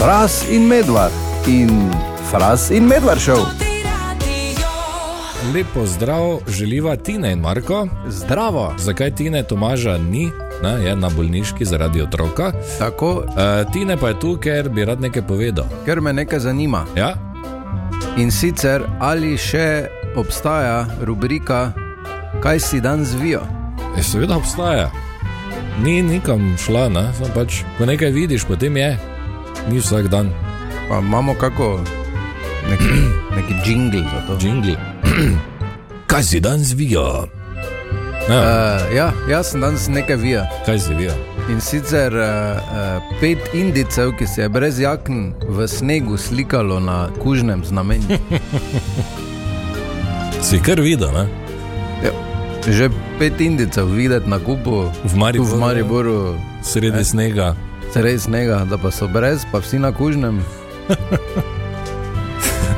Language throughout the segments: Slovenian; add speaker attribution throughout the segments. Speaker 1: Fras in medvard in Fras in medvard šov.
Speaker 2: Lepo zdrav, želiva Tina in Marko.
Speaker 1: Zdravo,
Speaker 2: Zakaj Tine Tomaža ni, ne, je na bolniški zaradi otroka.
Speaker 1: tako,
Speaker 2: Uh, Tine pa je tu, ker bi rad nekaj povedal.
Speaker 1: ker me nekaj zanima.
Speaker 2: Ja?
Speaker 1: In sicer ali še obstaja rubrika Kaj si dan zvijo?
Speaker 2: E, seveda obstaja. Ni nikam šla, ne? samo pač, ko nekaj vidiš, potem je. Ni vsak dan,
Speaker 1: Pa imamo kako neki, neki jingle za to.
Speaker 2: džingli. Kaj si dan zvijo? Ja,
Speaker 1: Uh, ja, jaz sem danes nekaj vija.
Speaker 2: kaj si vijo?
Speaker 1: In sicer uh, uh, pet indicev, ki se je brez jakn v snegu slikalo na kužnem znamenju.
Speaker 2: Si kar videl, ne?
Speaker 1: Ja, Že pet indicev videti na kupu,
Speaker 2: V
Speaker 1: tu v
Speaker 2: Mariboru,
Speaker 1: Mariboru,
Speaker 2: sredi ne. snega.
Speaker 1: res snega, da pa so brez, pa vsi na kužnem.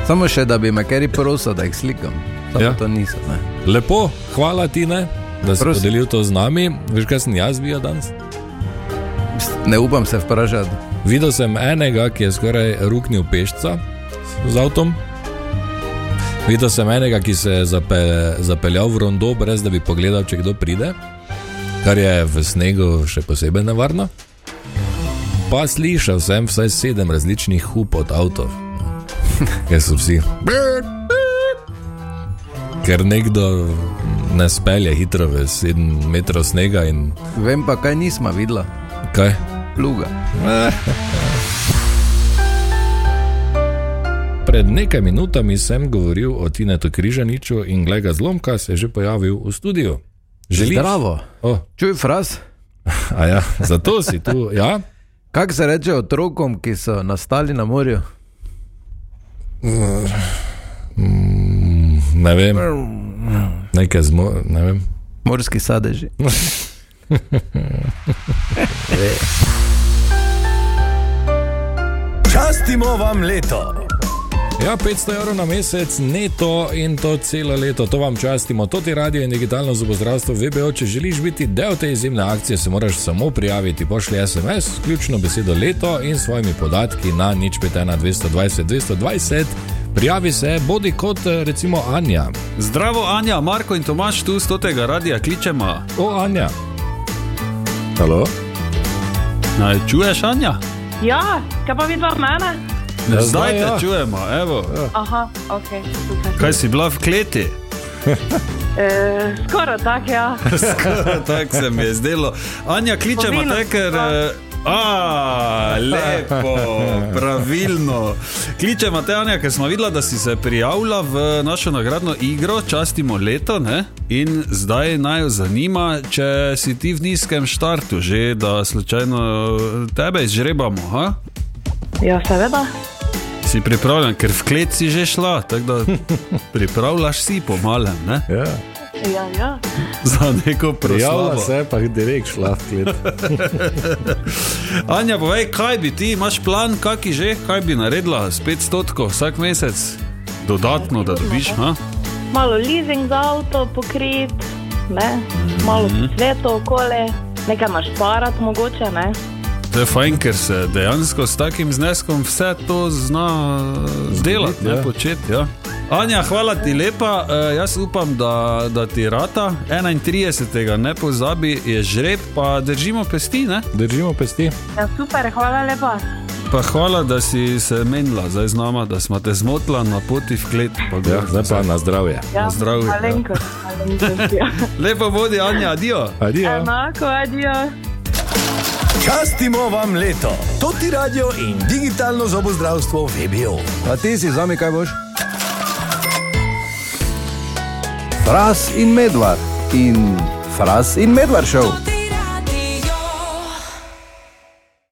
Speaker 1: Samo še, da bi me kjer prosil, da jih slikam. Samo
Speaker 2: Ja.
Speaker 1: ja. to niso. Ne.
Speaker 2: Lepo, hvala ti, ne, da si
Speaker 1: Prosim.
Speaker 2: podelil to z nami. Veš, kaj sem jaz bil danes?
Speaker 1: ne upam se vprašati.
Speaker 2: Videl sem enega, ki je skoraj ruknil pešca z avtom. Videl sem enega, ki se je zape, zapeljal v rondo, brez da bi pogledal, če kdo pride, kar je v snegu še posebej nevarno. Pa slišal sem vsaj sedem različnih hup od avtov, ker so vsi. Ker nekdo ne spelje hitro v sedem metrov snega in
Speaker 1: Vem pa, kaj nismo videla,
Speaker 2: kaj.
Speaker 1: pluga.
Speaker 2: Pred nekaj minutami sem govoril o Tinetu Križaniču in glede ga zlomka se je že pojavil v studiu. Želiš?
Speaker 1: Zdravo.
Speaker 2: O,
Speaker 1: Čuj, fras.
Speaker 2: a ja, zato si tu. Ja?
Speaker 1: Kaj se reče otrokom, ki so nastali na morju?
Speaker 2: Ne vem. Nekaj zmo, ne vem.
Speaker 1: Morski sadeži.
Speaker 3: Častimo vam leto.
Speaker 2: Ja, 500 evrov na mesec, neto in to celo leto, to vam častimo. To ti radio in digitalno zobozdravstvo VBO. Če želiš biti del te izjemne akcije, se moraš samo prijaviti. Pošlji SMS, ključno besedo leto in s svojimi podatki na nič 51 220 220. Prijavi se, bodi kot eh, recimo Anja.
Speaker 4: Zdravo, Anja, Marko in Tomaš tu z tega radia kličemo.
Speaker 2: O, Anja.
Speaker 1: Halo?
Speaker 4: Naj čuješ, Anja?
Speaker 5: Ja, kaj pa vidva mene?
Speaker 2: Ja, zdaj
Speaker 4: Zdaj
Speaker 2: ja.
Speaker 4: te čujemo, evo.
Speaker 5: Aha, ok, super.
Speaker 4: Kaj si bila v kleti?
Speaker 5: E, skoraj tako, ja.
Speaker 4: Tako se mi je zdelo. Anja, kličemo
Speaker 5: Povino
Speaker 4: te, ker.
Speaker 5: stran.
Speaker 4: eh, A, lepo, pravilno. Kličemo te, Anja, ker smo videla, da si se prijavila v našo nagradno igro, častimo leto, ne? in zdaj naj jo zanima, če si ti v nizkem štartu, že da slučajno tebe izžrebamo. Ha?
Speaker 5: Ja, seveda.
Speaker 4: Si pripravljen, ker v klet si že šla, tako da pripravljaš si pomalem, ne?
Speaker 2: Ja.
Speaker 5: Ja, ja.
Speaker 4: Za neko
Speaker 2: Prijavila
Speaker 4: proslavo.
Speaker 2: se je pa direkt šla v klet.
Speaker 4: Anja, povej, kaj bi ti, imaš plan, kaki že, kaj bi naredila s 500 vsak mesec, dodatno, da dobiš, ha?
Speaker 5: Malo leasing za avto pokrit, ne? malo mm
Speaker 4: Mhm.
Speaker 5: -hmm. sveta okoli, nekaj imaš parat mogoče, ne?
Speaker 4: To je fajn, ker se dejansko s takim zneskom vse to zna delati, ne
Speaker 2: ja.
Speaker 4: početi. Ja. Anja, hvala ti lepa, e, jaz upam, da, da ti rata 31. ne pozabi, je žreb, pa držimo pesti, ne?
Speaker 2: Držimo pesti.
Speaker 5: Ja, super, hvala lepa.
Speaker 4: Pa hvala, da si se menila zdaj z nama, da smo te zmotila na poti v klet. pa gor.
Speaker 2: Ja, zdaj pa na zdravje.
Speaker 5: Ja,
Speaker 4: Na zdravje, ja.
Speaker 5: Malenko, malenko. Ja.
Speaker 4: Lepo vodi, Anja, adijo.
Speaker 2: Adijo.
Speaker 5: Enako, adijo.
Speaker 3: Častimo vam leto. To ti radio in digitalno zobozdravstvo VBO.
Speaker 1: A ti si zami kaj boš? Fras in medvard in Fras in medvard šov.